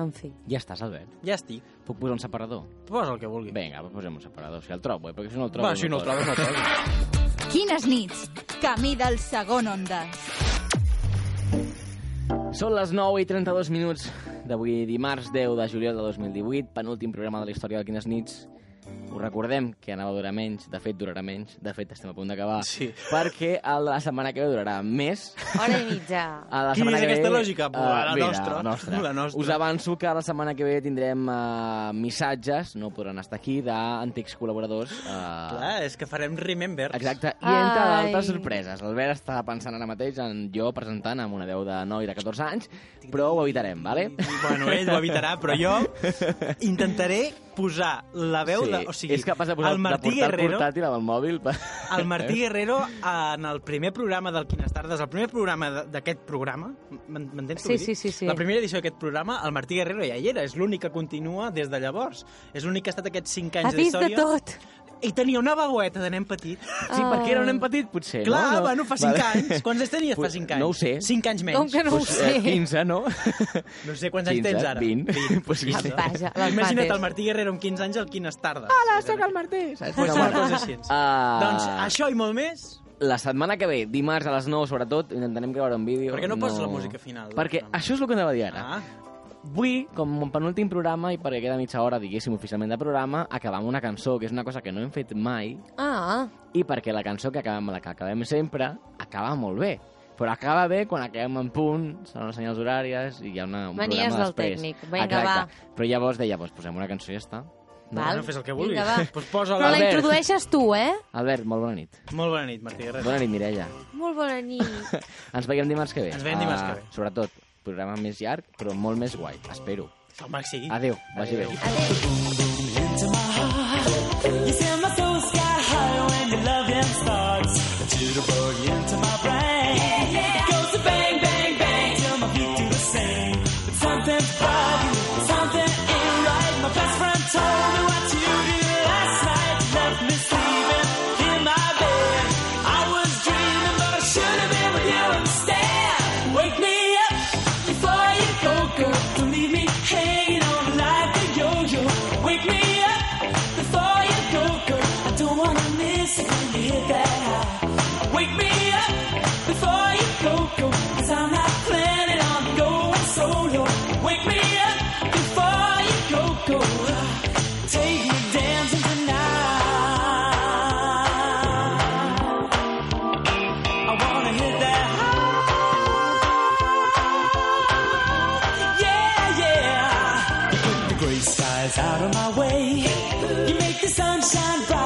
Speaker 5: En fi.
Speaker 4: Ja estàs, Albert.
Speaker 3: Ja estic.
Speaker 4: Puc posar un separador?
Speaker 3: Posa el que vulgui.
Speaker 4: Vinga, va, posem un separador, si el trobo, eh? perquè si no el trobo...
Speaker 3: Va, si no el trobes, no el trobes.
Speaker 6: Quines nits! Camí del segon Ondes.
Speaker 4: Són les 9 i 32 minuts d'avui dimarts 10 de juliol de 2018, penúltim programa de la història del Quines Nits. Us recordem que anava a durar menys, de fet durarà menys, de fet estem a punt d'acabar,
Speaker 3: Sí.
Speaker 4: perquè el de la setmana que ve durarà més.
Speaker 5: Hora i mitja.
Speaker 4: A la
Speaker 3: Quina
Speaker 4: setmana
Speaker 3: és
Speaker 4: que
Speaker 3: aquesta
Speaker 4: ve,
Speaker 3: lògica? Pues,
Speaker 4: eh,
Speaker 3: la
Speaker 4: mira,
Speaker 3: nostra.
Speaker 4: La nostra.
Speaker 3: La nostra.
Speaker 4: Us avanço que la setmana que ve tindrem uh, missatges, no podran estar aquí, d'antics col·laboradors. Uh,
Speaker 3: Clar, és que farem Remember.
Speaker 4: Exacte, i entre
Speaker 5: Ai.
Speaker 4: d'altres sorpreses. L'Albert està pensant ara mateix en jo presentant amb una veu de noi de 14 anys, però ho evitarem, vale?
Speaker 3: Bueno, ell ho evitarà, però jo intentaré posar la veu de... O sigui,
Speaker 4: és capaç de posar
Speaker 3: el Martí
Speaker 4: de portar el
Speaker 3: Guerrero...
Speaker 4: portàtil amb el mòbil. Per...
Speaker 3: El Martí Guerrero, en el primer programa del Quines Tardes, el primer programa de- d'aquest programa, m'en- m'entens? què
Speaker 5: Sí,
Speaker 3: vull dir?
Speaker 5: sí, sí, sí.
Speaker 3: La primera edició d'aquest programa, el Martí Guerrero ja hi era, és l'únic que continua des de llavors. És l'únic que ha estat aquests 5
Speaker 5: Ha
Speaker 3: anys
Speaker 5: vist
Speaker 3: d'història.
Speaker 5: de tot.
Speaker 3: I tenia una babueta de nen petit.
Speaker 4: Sí, perquè era un nen petit, potser,
Speaker 3: Clar,
Speaker 4: no?
Speaker 3: bueno, fa 5 anys. Quants anys tenies fa
Speaker 4: Pues,
Speaker 3: 5 anys?
Speaker 4: no ho sé.
Speaker 3: 5 anys menys.
Speaker 5: Com que no ho
Speaker 4: Pues, eh,
Speaker 5: sé?
Speaker 4: 15, no?
Speaker 3: No sé quants anys
Speaker 4: 15,
Speaker 3: tens ara.
Speaker 4: 20. Pues,
Speaker 3: quinze.
Speaker 4: quinze.
Speaker 5: Vaja, les
Speaker 3: eh? Imagina't
Speaker 5: mates.
Speaker 3: el Martí Guerrero amb 15 anys al Quines Tardes. Hola, sóc el Martí. Pues una cosa així.
Speaker 4: Ah.
Speaker 3: Doncs això i molt més...
Speaker 4: La setmana que ve, dimarts a les 9, sobretot, intentarem gravar un vídeo.
Speaker 3: Per què no poses la música final?
Speaker 4: Perquè
Speaker 3: No.
Speaker 4: això és el que anava a dir ara.
Speaker 3: Ah,
Speaker 4: Vull, com un penúltim programa, i perquè queda mitja hora, diguéssim, oficialment de programa, acabar amb una cançó, que és una cosa que no hem fet mai,
Speaker 5: Ah,
Speaker 4: i perquè la cançó que acabem, la que acabem sempre, acaba molt bé. Però acaba bé quan acabem en punt, són les senyals horàries i hi ha una, un
Speaker 5: Manies
Speaker 4: programa
Speaker 5: del
Speaker 4: després.
Speaker 5: tècnic. Vinga,
Speaker 4: Exacte. va. Però llavors deia, doncs posem una cançó i ja està.
Speaker 3: no,
Speaker 5: Val.
Speaker 3: no fes el que vulguis.
Speaker 5: Vinga, va.
Speaker 3: Pues posa
Speaker 5: però
Speaker 3: la...
Speaker 5: la
Speaker 4: Albert.
Speaker 5: introdueixes tu, eh?
Speaker 4: Albert, molt bona nit.
Speaker 3: Molt bona nit, Martí Guerrero.
Speaker 4: Bona nit, Mireia.
Speaker 5: Molt bona nit.
Speaker 4: Ens veiem dimarts que ve.
Speaker 3: Ens veiem dimarts que ve.
Speaker 4: Ah, sobretot, programa més llarg, però molt més guai. Espero.
Speaker 3: El Marc sigui.
Speaker 4: Adéu, vagi bé.
Speaker 12: You feel my soul sky high when your loving starts.
Speaker 6: Wake me up before you go, go. I don't wanna miss it when you hit that high. Wake me up before you go, go. Cause I'm not planning on going solo. Wake me up before you go, go. Take me dancing tonight. I wanna hit that high. Yeah, yeah. Put the gray skies out of my way. You make the sunshine bright.